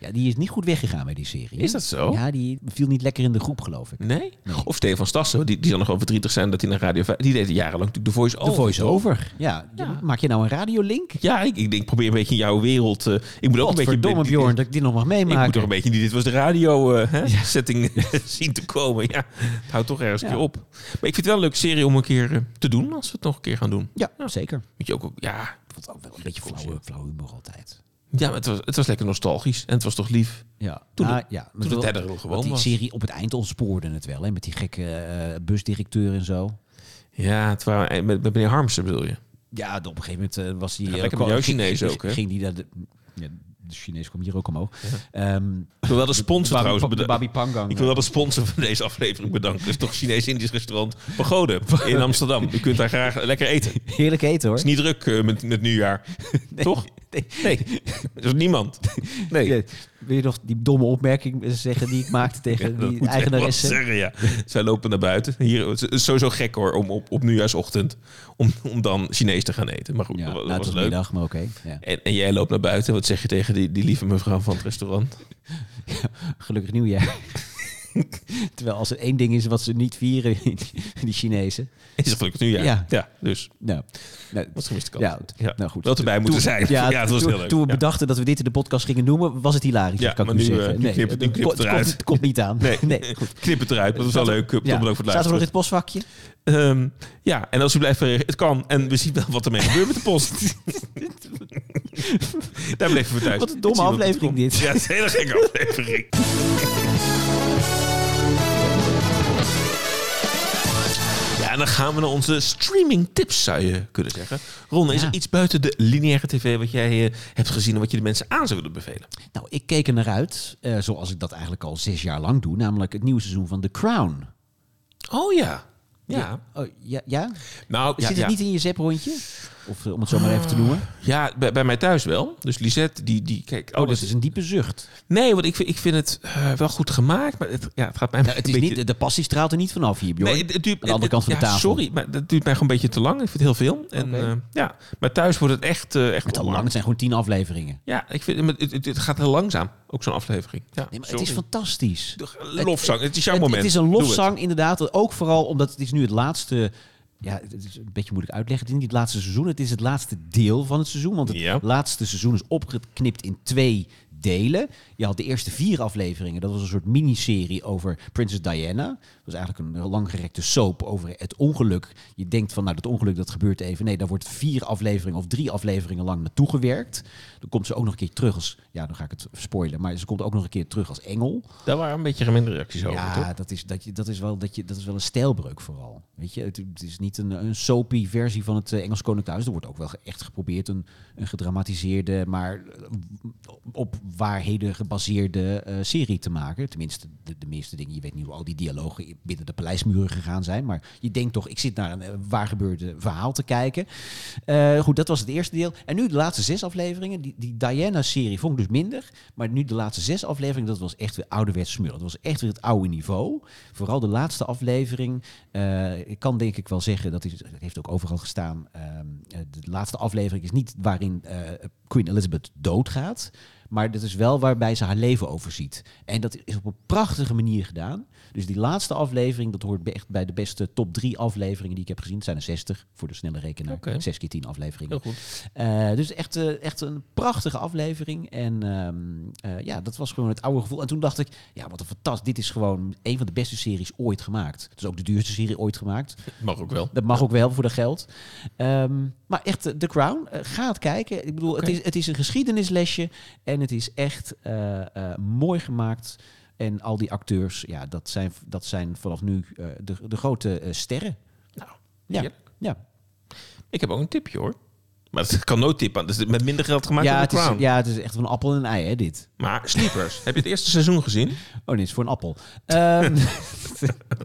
Ja, die is niet goed weggegaan bij die serie. hè? Is dat zo? Ja, die viel niet lekker in de groep, geloof ik. Nee? Of Stefan Stassen, die, die zal nog wel verdrietig zijn dat hij naar Radio 5... Die deed jarenlang natuurlijk de voice over. de voice-over. Oh, Ja, Ja. maak je nou een radiolink? Ja, ik, ik denk, probeer een beetje in jouw wereld... eh, ik moet ook een beetje... Godverdomme, Bjorn, dat ik dit nog mag Ik moet toch meemaken. een beetje die dit was de radio eh, hè, setting zien te komen. Ja, het houdt toch ergens een Ja. keer op. Maar ik vind het wel een leuke serie om een keer eh, te doen als we het nog een keer gaan doen. Ja, zeker. Moet je ook, ook- ja, Ik vond het ook wel een beetje flauwe, flauwe humor altijd. ja maar het, was, het was lekker nostalgisch en het was toch lief. Ja, Toen nou, het- ja, maar toen het wel- verder gewoon want die was. serie op het eind ontspoorde het wel, hè, met die gekke eh, busdirecteur en zo. Ja, het waren, eh, met, met meneer Harmsen bedoel je. Ja, op een gegeven moment eh, was die... Ja, eh, lekker kwam- met jou ging- Chinees ging- ook, hè? Ging die naar de... Ja, de Chinees kwam hier ook omhoog. Ehm, Ik wil wel de sponsor Babi- trouwens de beda- Babi Pangang. Ik wil wel de sponsor van deze aflevering bedanken. Dat is toch Chinees-Indisch restaurant Pagode in Amsterdam. U kunt daar graag lekker eten. Het Heerlijk eten, hoor. is niet druk eh, met, met nieuwjaar. Toch? Nee. Nee, er is niemand. Nee. Ja, wil je nog die domme opmerking zeggen die ik maakte tegen Ja, dat moet Eh, die je wel eigenaresse? zeggen, ja. Zij lopen naar buiten. Hier, het is sowieso gek hoor, om op, op nieuwjaarsochtend... Om, om dan Chinees te gaan eten. Maar goed, Ja, dat nou, het was was leuk. middag, maar oké. Ja. En, en jij loopt naar buiten. Wat zeg je tegen die, die lieve mevrouw van het restaurant? Gelukkig nieuwjaar. Terwijl als er één ding is wat ze niet vieren, die Chinezen. Is het gelukkig nieuwjaar? Ja. dus Nou, nou, wat een gemiste kans. ja, Ja. nou goed. Wel te bij moeten zijn. Ja, het was toen, heel leuk. Toen we Ja. bedachten dat we dit in de podcast gingen noemen, was het hilarisch, Ja, kan ik maar nu nu, eh, zeggen. nu knip het- nu knip het komt- eruit. komt- Het komt niet aan. Nee. goed. Knip het eruit, want het was wel leuk. Ja. Ja. Bedankt voor het Zaten we nog in luisteren. het postvakje? Ehm, ja, en als u blijft reageren, het kan. En we zien wel wat ermee gebeurt met de post. Daar bleven we thuis. Wat een domme Ik zie wel aflevering komt. dit. Ja, het is een hele gekke aflevering. Ja, en dan gaan we naar onze streaming tips, zou je kunnen zeggen. Ron, is er Ja. iets buiten de lineaire tv wat jij eh, hebt gezien en wat je de mensen aan zou willen bevelen? Nou, ik keek er naar uit, eh, zoals ik dat eigenlijk al zes jaar lang doe, namelijk het nieuwe seizoen van The Crown. Oh ja. Ja. Oh, ja, ja? Nou, ja, Zit het ja. Oh, niet in je zeprondje? Of eh, om het zo maar even te noemen. Ja, bij, bij mij thuis wel. Dus Lisette, die, die kijk. Oh, dat is een diepe zucht. Nee, want ik vind, ik vind het eh, wel goed gemaakt, maar het, ja, het gaat mij Nou, het is een niet, de passie straalt er niet vanaf hier, Bjorn. Nee, het, het duurt, Aan de andere het- kant van de ja, tafel. Sorry, maar dat duurt mij gewoon een beetje te lang. Ik vind het heel veel. En, Oké. eh, ja. Maar thuis wordt het echt, eh echt Het, al lang, onwarm. het zijn gewoon tien afleveringen. Ja, ik vind, maar het, het, het gaat heel langzaam, ook zo'n aflevering. Ja, Nee, maar het sorry. is fantastisch. De- Lofzang, het is jouw het, moment. het is een Doe lofzang, inderdaad. Ook vooral omdat het is nu het laatste... Ja, het is een beetje moeilijk uitleggen. Het is niet het laatste seizoen, het is het laatste deel van het seizoen. Want het Ja. laatste seizoen is opgeknipt in twee delen. Je had de eerste vier afleveringen. Dat was een soort miniserie over Prinses Diana. Dat was eigenlijk een langgerekte soap over het ongeluk. Je denkt van, nou, dat ongeluk dat gebeurt even. Nee, daar wordt vier afleveringen of drie afleveringen lang naartoe gewerkt. Dan komt ze ook nog een keer terug als... Ja, dan ga ik het spoilen. Maar ze komt ook nog een keer terug als engel. het. Daar waren een beetje gemengde reacties over, toch? Ja, dat is, dat, je, dat, is wel, dat, je, dat is wel een stijlbreuk vooral. Weet je, het, het is niet een, een soapy versie van het eh, Engels Koninklijk Huis. Er wordt ook wel ge- echt geprobeerd een, een gedramatiseerde, maar eh, op waarheden gebaseerde eh, serie te maken. Tenminste, de, de meeste dingen. Je weet niet hoe al die dialogen binnen de paleismuren gegaan zijn. Maar je denkt toch, ik zit naar een eh, waar gebeurde verhaal te kijken. Eh, goed, dat was het eerste deel. En nu de laatste zes afleveringen. Die, die Diana-serie vond ik dus minder. Maar nu de laatste zes afleveringen, dat was echt weer ouderwets smullen. Dat was echt weer het oude niveau. Vooral de laatste aflevering. eh, ik kan denk ik wel zeggen, dat, is, dat heeft ook overal gestaan. ehm, eh, de laatste aflevering is niet waarin eh, Queen Elizabeth doodgaat. Maar dat is wel waarbij ze haar leven overziet. En dat is op een prachtige manier gedaan. Dus die laatste aflevering, dat hoort be- echt bij de beste top drie afleveringen die ik heb gezien. Het zijn er 60 voor de snelle rekenaar. Oké. 6 keer 10 afleveringen. Heel goed. Eh, dus echt, eh, echt een prachtige aflevering. En ehm, eh, ja, dat was gewoon het oude gevoel. En toen dacht ik, ja, wat een fantastisch. Dit is gewoon een van de beste series ooit gemaakt. Het is ook de duurste serie ooit gemaakt. Mag ook wel. Dat mag ook wel voor dat geld. Ehm, maar echt, eh, The Crown, eh, ga het kijken. Ik bedoel, Oké. het, is, het is een geschiedenislesje. En het is echt eh, eh, mooi gemaakt. En al die acteurs, ja, dat zijn, dat zijn vanaf nu eh, de, de grote eh, sterren. Nou, Ja, heerlijk. ja. Ik heb ook een tipje hoor. Maar het kan no tip aan. Dus met minder geld gemaakt ja, dan het de is, Crown. ja, het is echt van een appel en een ei, hè, dit. Maar Sleepers, heb je het eerste seizoen gezien? Oh nee, het is voor een appel. Ehm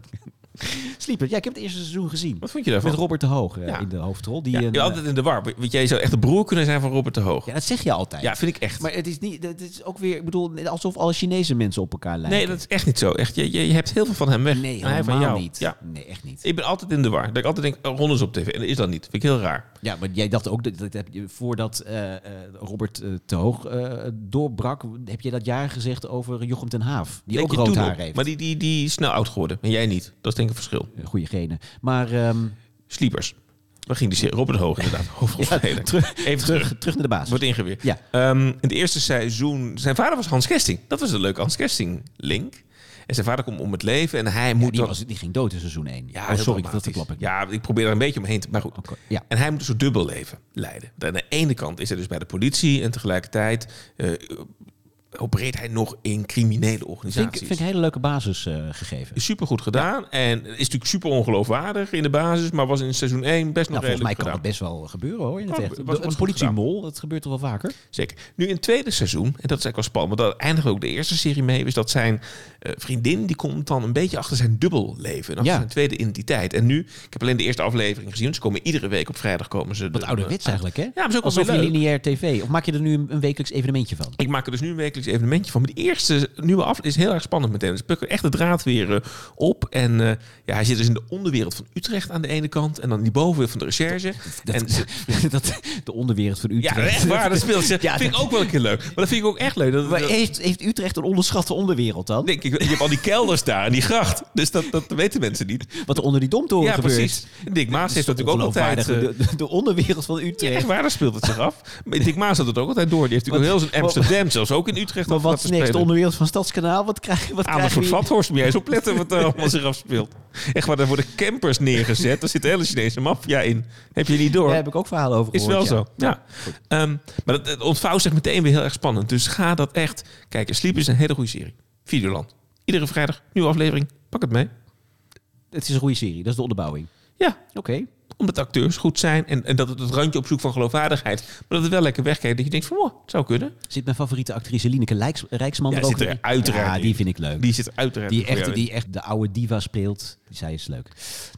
Sleeper, ja, ik heb het eerste seizoen gezien. Wat vond je Met daarvan? Robert de Hoog eh, Ja. in de hoofdrol. Die, Ja, een, je bent eh, altijd in de war. Want jij zou echt de broer kunnen zijn van Robert de Hoog. ja, Ja, dat zeg je altijd. vind ik echt. Maar het is, niet, het is ook weer, ik bedoel, alsof alle Chinese mensen op elkaar lijken. nee, dat is echt niet zo. Echt, je, je, je hebt heel veel van hem weg. nee maar hij van helemaal jou. niet. Ja. Nee, echt niet. Ik ben altijd in de war. Dat ik altijd denk, oh, Ron is op tv. En dat is dat niet. Vind ik heel raar. Ja, maar jij dacht ook dat, dat heb je, voordat eh, eh, Robert eh, te hoog eh, doorbrak, heb je dat jaar gezegd over Jochem ten Haaf, die Denk ook je rood toen haar op. heeft. Maar die, die, die is snel oud geworden. En jij niet. Dat is denk ik een verschil. Goede genen. Maar ehm, Sleepers. Waar ging die serie? Robert de Hoog inderdaad. Hoofdrolspeler. Even terug. terug, terug naar de basis. Wordt ingeweerd. Ja. Ehm, in het eerste seizoen... Zijn vader was Hans Kesting. Dat was de leuke Hans Kesting-link. En zijn vader komt om het leven. En hij Ja, moet die, dan- was, die ging dood in seizoen 1. Ja, oh, heel sorry, dat dramatisch. verklap ik. Ja, ik probeer er een beetje omheen te... Maar goed. Oké, ja. En hij moet een soort dubbel leven leiden. Aan de ene kant is hij dus bij de politie... en tegelijkertijd eh, opereert hij nog in criminele Vind, organisaties. ik- vind ik een hele leuke basis eh, gegeven. Is supergoed gedaan. En is natuurlijk super ongeloofwaardig in de basis. Maar was in seizoen 1 best nog Nou, volgens mij redelijk kan gedaan. dat best wel gebeuren hoor. In het Ja, echt. was- was Een goed politiemol, dat gebeurt toch wel vaker? Zeker. Nu in het tweede seizoen, en dat is eigenlijk wel spannend, want daar eindigt ook de eerste serie mee, is dat zijn eh, vriendin, die komt dan een beetje achter zijn dubbelleven. en Achter Ja. zijn tweede identiteit. En nu, ik heb alleen de eerste aflevering gezien, want ze komen iedere week op vrijdag komen ze. Wat de- ouderwets eigenlijk, hè? maar is ook wel Alsof weer je leuk. lineair tv. Of maak je er nu een, een wekelijks evenementje van? Ik maak er dus nu een wekelijks evenementje van. Maar die eerste nieuwe aflevering is heel erg spannend meteen. Dus pukken echt de draad weer eh, op. En eh, ja, hij zit dus in de onderwereld van Utrecht aan de ene kant. En dan die bovenwereld van de recherche. en ze- dat, de onderwereld van ja, Utrecht. echt waar. Dat speelt ze. Ja, vind ik ook wel een keer leuk. Maar dat vind ik ook echt leuk. Dat, Maar dat- heeft, heeft Utrecht een onderschatte onderwereld dan? Denk ik, je hebt al die kelders daar en die gracht. Dus dat, dat weten mensen niet. Wat er onder die domtoren ja, Oh, gebeurt. precies. Dick Maas heeft Dat is natuurlijk ook altijd... eh, ongeloofwaardig. De, de onderwereld van ja, Utrecht. echt waar, daar speelt het zich af. Maar Dick Maas had het ook altijd door. Die heeft natuurlijk Wat- heel zijn Amsterdam, zelfs ook in Utrecht. maar af wat is laten next? De spelen. onderwereld van Stadskanaal? Wat krijg, wat Aan de krijg soort je? vathorst moet jij eens opletten wat er allemaal zich afspeelt. Echt waar, daar worden campers neergezet. Daar zit de hele Chinese maffia in. Heb je niet door? Daar heb ik ook verhalen over Is gehoord. wel ja. zo. Ja. Ehm, maar dat, dat ontvouwt zich meteen weer heel erg spannend. Dus ga dat echt kijken. Sleep is een hele goede serie. Videoland. Iedere vrijdag, nieuwe aflevering. Pak het mee. Het is een goede serie. Dat is de onderbouwing. Ja, Oké. omdat de acteurs goed zijn en, en dat het het randje op zoek van geloofwaardigheid, maar dat het wel lekker wegkijkt. Dat je denkt van, wow, het zou kunnen. Zit mijn favoriete actrice Lineke Lijks- Rijksman Ja, er ook zit er in? uiteraard Ja, die in. vind ik leuk. Die zit uiteraard. Die voor jou echt, in. die echt de oude diva speelt. Zij is leuk.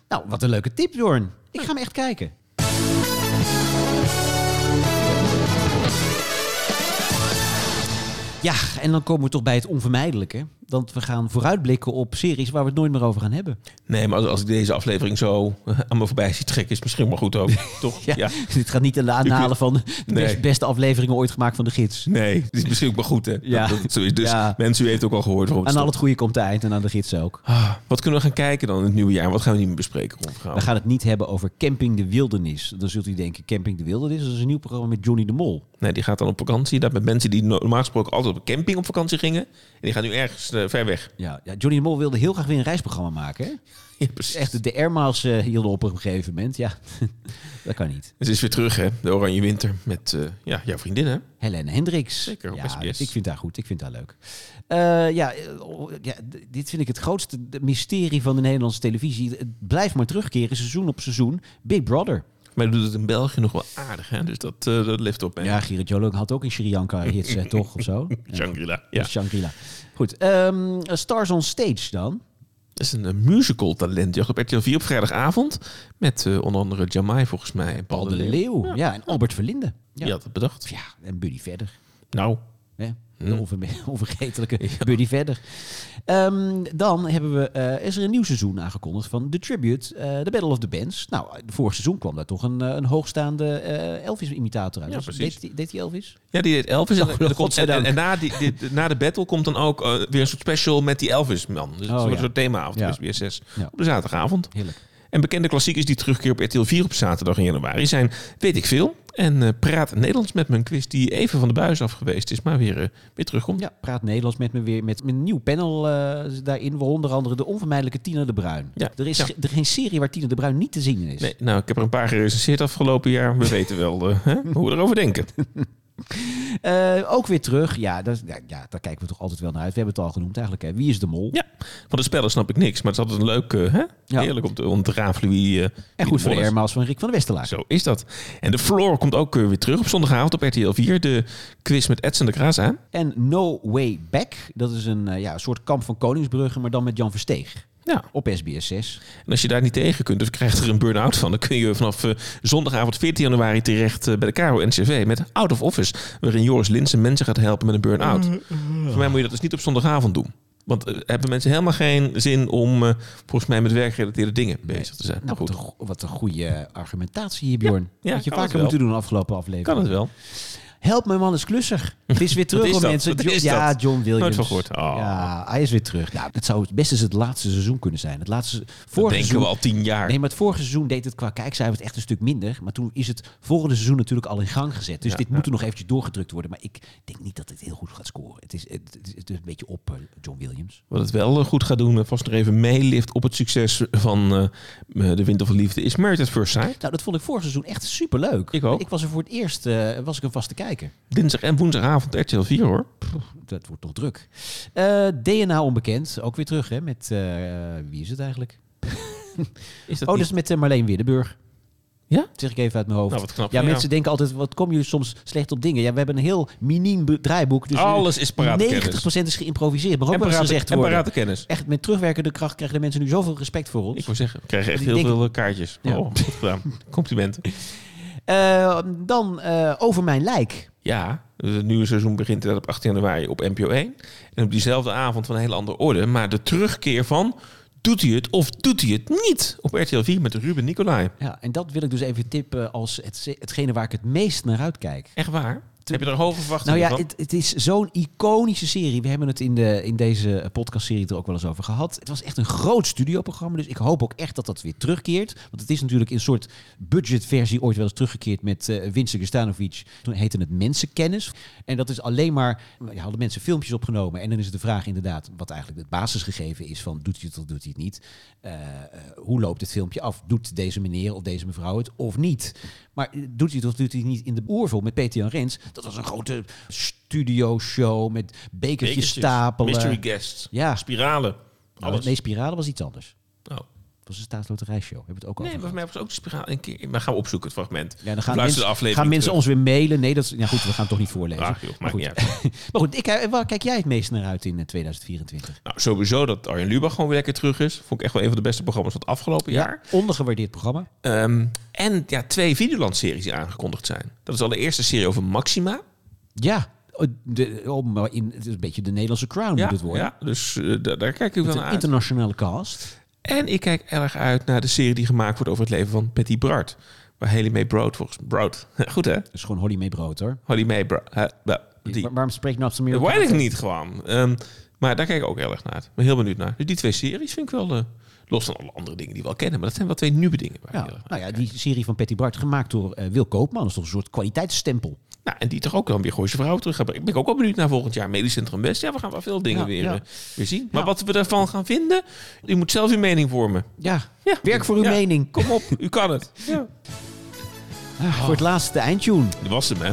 Nou, wat een leuke tip, Jorn. Ik ga hem echt kijken. Ja, en dan komen we toch bij het onvermijdelijke. Want we gaan vooruitblikken op series waar we het nooit meer over gaan hebben. Nee, maar als, als ik deze aflevering zo eh, aan me voorbij zie trekken, is het misschien maar goed ook. Toch? Ja, Ja. Dit gaat niet aan de aanhalen van de Nee. best- beste afleveringen ooit gemaakt van de gids. Nee, het is misschien ook maar goed. Hè? Ja. Dat, dat zo is. Dus Ja. mensen, u heeft ook al gehoord waarom het Aan al stopt. het goede komt de eind en aan de gids ook. Ah, wat kunnen we gaan kijken dan in het nieuwe jaar? Wat gaan we niet meer bespreken? Ron Vergaal? We gaan het niet hebben over Camping de Wildernis. Dan zult u denken, Camping de Wildernis dat is een nieuw programma met Johnny de Mol. Nee, die gaat dan op vakantie. Dat met mensen die no- normaal gesproken altijd op camping op vakantie gingen. En die gaan nu ergens eh, ver weg. Ja, ja, Johnny de Mol wilde heel graag weer een reisprogramma maken. Hè? Ja, precies. Echt, de airmaals eh hielden op een gegeven moment. Ja, dat kan niet. Het is weer terug, hè? De Oranje Winter met eh, ja, jouw vriendin, hè? Helene Hendricks. Zeker, op ja, SBS. Ik vind haar goed, ik vind haar leuk. Eh, ja, eh, oh, ja, d- dit vind ik het grootste mysterie van de Nederlandse televisie. Het blijft maar terugkeren, seizoen op seizoen. Big Brother. Maar doet het in België nog wel aardig, hè? Dus dat, eh, dat lift op, hè? Ja, Gerrit Jolo had ook in Sri Lanka hits, eh, toch? Of zo? Ja, Shangri-La. Ja. Shangri-La. Goed, ehm, Stars on Stage dan. Dat is een eh, musical talentjacht op RTL 4 op vrijdagavond. Met eh, onder andere Jamai, volgens mij. en Paul de Leeuw. Ja, en Albert Verlinde. Die had het bedacht. ja en Buddy Verder. Nou, Hè? De onverme- onvergetelijke Buddy verder. Ehm, dan hebben we, eh, is er een nieuw seizoen aangekondigd van The Tribute, eh The Battle of the Bands. Nou, vorig seizoen kwam daar toch een, eh, een hoogstaande eh, Elvis-imitator uit. Ja, Was- precies. Deed, die- deed die Elvis? Ja, die deed Elvis. En, Oh, en- en, godzijdank. en na, die, die- na de battle komt dan ook eh, weer een soort special met die Elvis-man. Dus Oh, een soort, ja. soort themaavond Ja. op SBS 6 Ja. op de zaterdagavond. Heerlijk. En bekende klassiekers die terugkeer op RTL 4 op zaterdag in januari zijn Weet ik veel en eh, Praat Nederlands met mijn quiz die even van de buis af geweest is, maar weer, eh, weer terugkomt. Ja, praat Nederlands met me weer met een nieuw panel eh, daarin. Waaronder andere de onvermijdelijke Tina de Bruin. Ja, Er is ja. ge- er geen serie waar Tina de Bruin niet te zien in is. Nee, nou, ik heb er een paar gerecenseerd afgelopen jaar. We weten wel eh, hè, hoe we erover denken. Eh, ook weer terug. Ja, dat, ja, ja, daar kijken we toch altijd wel naar uit. We hebben het al genoemd eigenlijk. Hè. Wie is de mol? Ja, van de spellen snap ik niks, maar het is altijd een leuk, eh, hè? Ja. heerlijk om te ontrafelen wie... eh, wie en goed voor de mol is. airmaals van Rick van de Westelaar. Ah, Zo is dat. En de floor komt ook eh, weer terug op zondagavond op RTL 4. De quiz met Edson de Graas aan. En No Way Back, dat is een eh, ja, een soort kamp van Koningsbrugge, maar dan met Jan Versteeg. Ja, Op SBS 6. en als je daar niet tegen kunt of je krijgt er een burn-out van... dan kun je vanaf eh, zondagavond 14 januari terecht eh, bij de Caro NCV met Out of Office... waarin Joris Linsen mensen gaat helpen met een burn-out. Mhm, Voor mij moet je dat dus niet op zondagavond doen. Want eh, hebben mensen helemaal geen zin om eh, volgens mij met werkgerelateerde dingen bezig te zijn. Nou, Maar wat goed, een, go- wat een goede argumentatie hier, Bjorn. ja, Had je kan het vaker wel. moeten doen de afgelopen aflevering. kan het wel. Help, mijn man is klusser. Het is weer terug, Wat is hoor, dat? mensen. Wat Jo- is ja, dat? John Williams. Nooit van gehoord. Oh. Ja, hij is weer terug. Nou, het zou best eens het laatste seizoen kunnen zijn. Het laatste Dat vorige denken we seizoen. al tien jaar. Nee, maar het vorige seizoen deed het qua kijkcijfer het echt een stuk minder. Maar toen is het volgende seizoen natuurlijk al in gang gezet. Dus Ja, dit ja. moet er nog eventjes doorgedrukt worden. Maar ik denk niet dat het heel goed gaat scoren. Het is, het, het is- het is een beetje op, eh, John Williams. Wat het wel eh, goed gaat doen, eh, vast nog even meelift op het succes van eh, De Winter van Liefde, is Married at First Sight. Nou, dat vond ik vorig seizoen echt superleuk. Ik ook. Ik was er voor het eerst, eh, was ik een vaste kijker. Dinsdag en woensdagavond RTL 4 hoor. Dat wordt nog druk. Eh, DNA onbekend, ook weer terug hè, met, eh, wie is het eigenlijk? Is dat Oh, niet- dus met eh, Marleen Widdenburg. Ja? Dat zeg ik even uit mijn hoofd. Nou, wat knap. ja, van jou. mensen denken altijd, wat komen jullie soms slecht op dingen? Ja, we hebben een heel miniem be- draaiboek. Dus eh, Alles is parate 90% kennis. is geïmproviseerd. Maar ook En wel eens parate, gezegd en worden. parate kennis. Echt, met terugwerkende kracht krijgen de mensen nu zoveel respect voor ons. Ik wil zeggen, we krijgen echt Ik heel denk- veel eh, kaartjes. Ja. Oh, goed gedaan. Complimenten. Eh, dan eh, over mijn lijk. Ja, het nieuwe seizoen begint inderdaad op 18 januari op NPO 1. En op diezelfde avond van een hele andere orde. Maar de terugkeer van, doet hij het of doet hij het niet? Op RTL 4 met Ruben Nicolai. Ja, en dat wil ik dus even tippen als het, hetgene waar ik het meest naar uitkijk. Echt waar? Heb je er hoge verwachtingen Nou ja, van? het, het is zo'n iconische serie. We hebben het in, de, in deze podcastserie er ook wel eens over gehad. Het was echt een groot studioprogramma. Dus ik hoop ook echt dat dat weer terugkeert. Want het is natuurlijk een soort budgetversie ooit wel eens teruggekeerd met eh Winston Gustanovic. Toen heette het Mensenkennis. En dat is alleen maar... Ja, hadden mensen filmpjes opgenomen. En dan is het de vraag inderdaad wat eigenlijk het basisgegeven is van doet hij het of doet hij het niet. Eh, eh, hoe loopt het filmpje af? Doet deze meneer of deze mevrouw het of niet? Maar eh, doet hij het of doet hij het niet in de oervol met Peter Jan Rens? Dat was een grote studioshow met bekertjes, Bekertjes, stapelen. Mystery guests. Ja, Spiralen. Nou, Alles. nee, Spiralen was iets anders. Oh. Het was een staatsloterijshow. Hebben we het ook al Nee, over maar voor gehad. mij was ook de spiraal een keer. Maar gaan we opzoeken, het fragment. Ja, dan gaan Of luister mensen, de aflevering gaan mensen terug. ons weer mailen. Nee, dat is, ja goed, we gaan het toch niet voorlezen. Ah, joh, maar maakt goed, niet uit. maar goed ik, eh, waar kijk jij het meest naar uit in eh, 2024? Nou, sowieso dat Arjen Lubach gewoon weer lekker terug is. Vond ik echt wel een van de beste programma's van het afgelopen jaar. Ondergewaardeerd programma. Ehm, en ja, twee Videoland-series die aangekondigd zijn. Dat is allereerst de serie over Maxima. Ja, oh, de, oh, maar in, het is een beetje de Nederlandse crown moet het worden. ja dus eh, da- daar kijk ik wel Met naar een uit. internationale cast. En ik kijk erg uit naar de serie die gemaakt wordt over het leven van Patty Bart. Waar Haley May Brood volgens... Broad. Goed, hè? Dat is gewoon Holly May Brood hoor. Holly May Broad. hè, nou, die- Waar- waarom spreek je nou op zijn Dat meer? weet ik niet gewoon. Ehm, maar daar kijk ik ook heel erg naar. uit. Ik ben heel benieuwd naar. Dus die twee series vind ik wel... eh, los van alle andere dingen die we al kennen. Maar dat zijn wel twee nieuwe dingen. Waar ik heel Ja, erg naar nou ja, die serie van Patty Bart, gemaakt door eh, Wil Koopman. Dat is toch een soort kwaliteitsstempel. Nou, en die toch ook dan weer Gooise Vrouwen terug hebben. Ik ben ook wel benieuwd naar volgend jaar Medisch Centrum West. Ja, we gaan wel veel dingen Ja, weer, ja. eh, weer zien. Maar wat we daarvan gaan vinden, u moet zelf uw mening vormen. Ja, Ja. werk voor uw Ja. mening. Kom op, u kan het. Ja. Ah, Voor het laatste eindtune. Dat was hem, hè.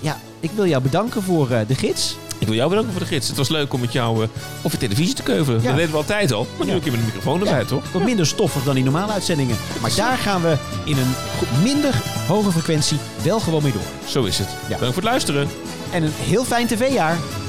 Ja, ik wil jou bedanken voor eh, de gids. Ik wil jou bedanken voor de gids. Het was leuk om met jou eh, over televisie te keuvelen. Ja. Dat deden we altijd al. Maar nu Ja. een keer met een microfoon erbij, toch? Wat minder stoffig dan die normale uitzendingen. Maar daar gaan we in een go- minder hoge frequentie wel gewoon mee door. Zo is het. Bedankt voor het luisteren. En een heel fijn tv-jaar.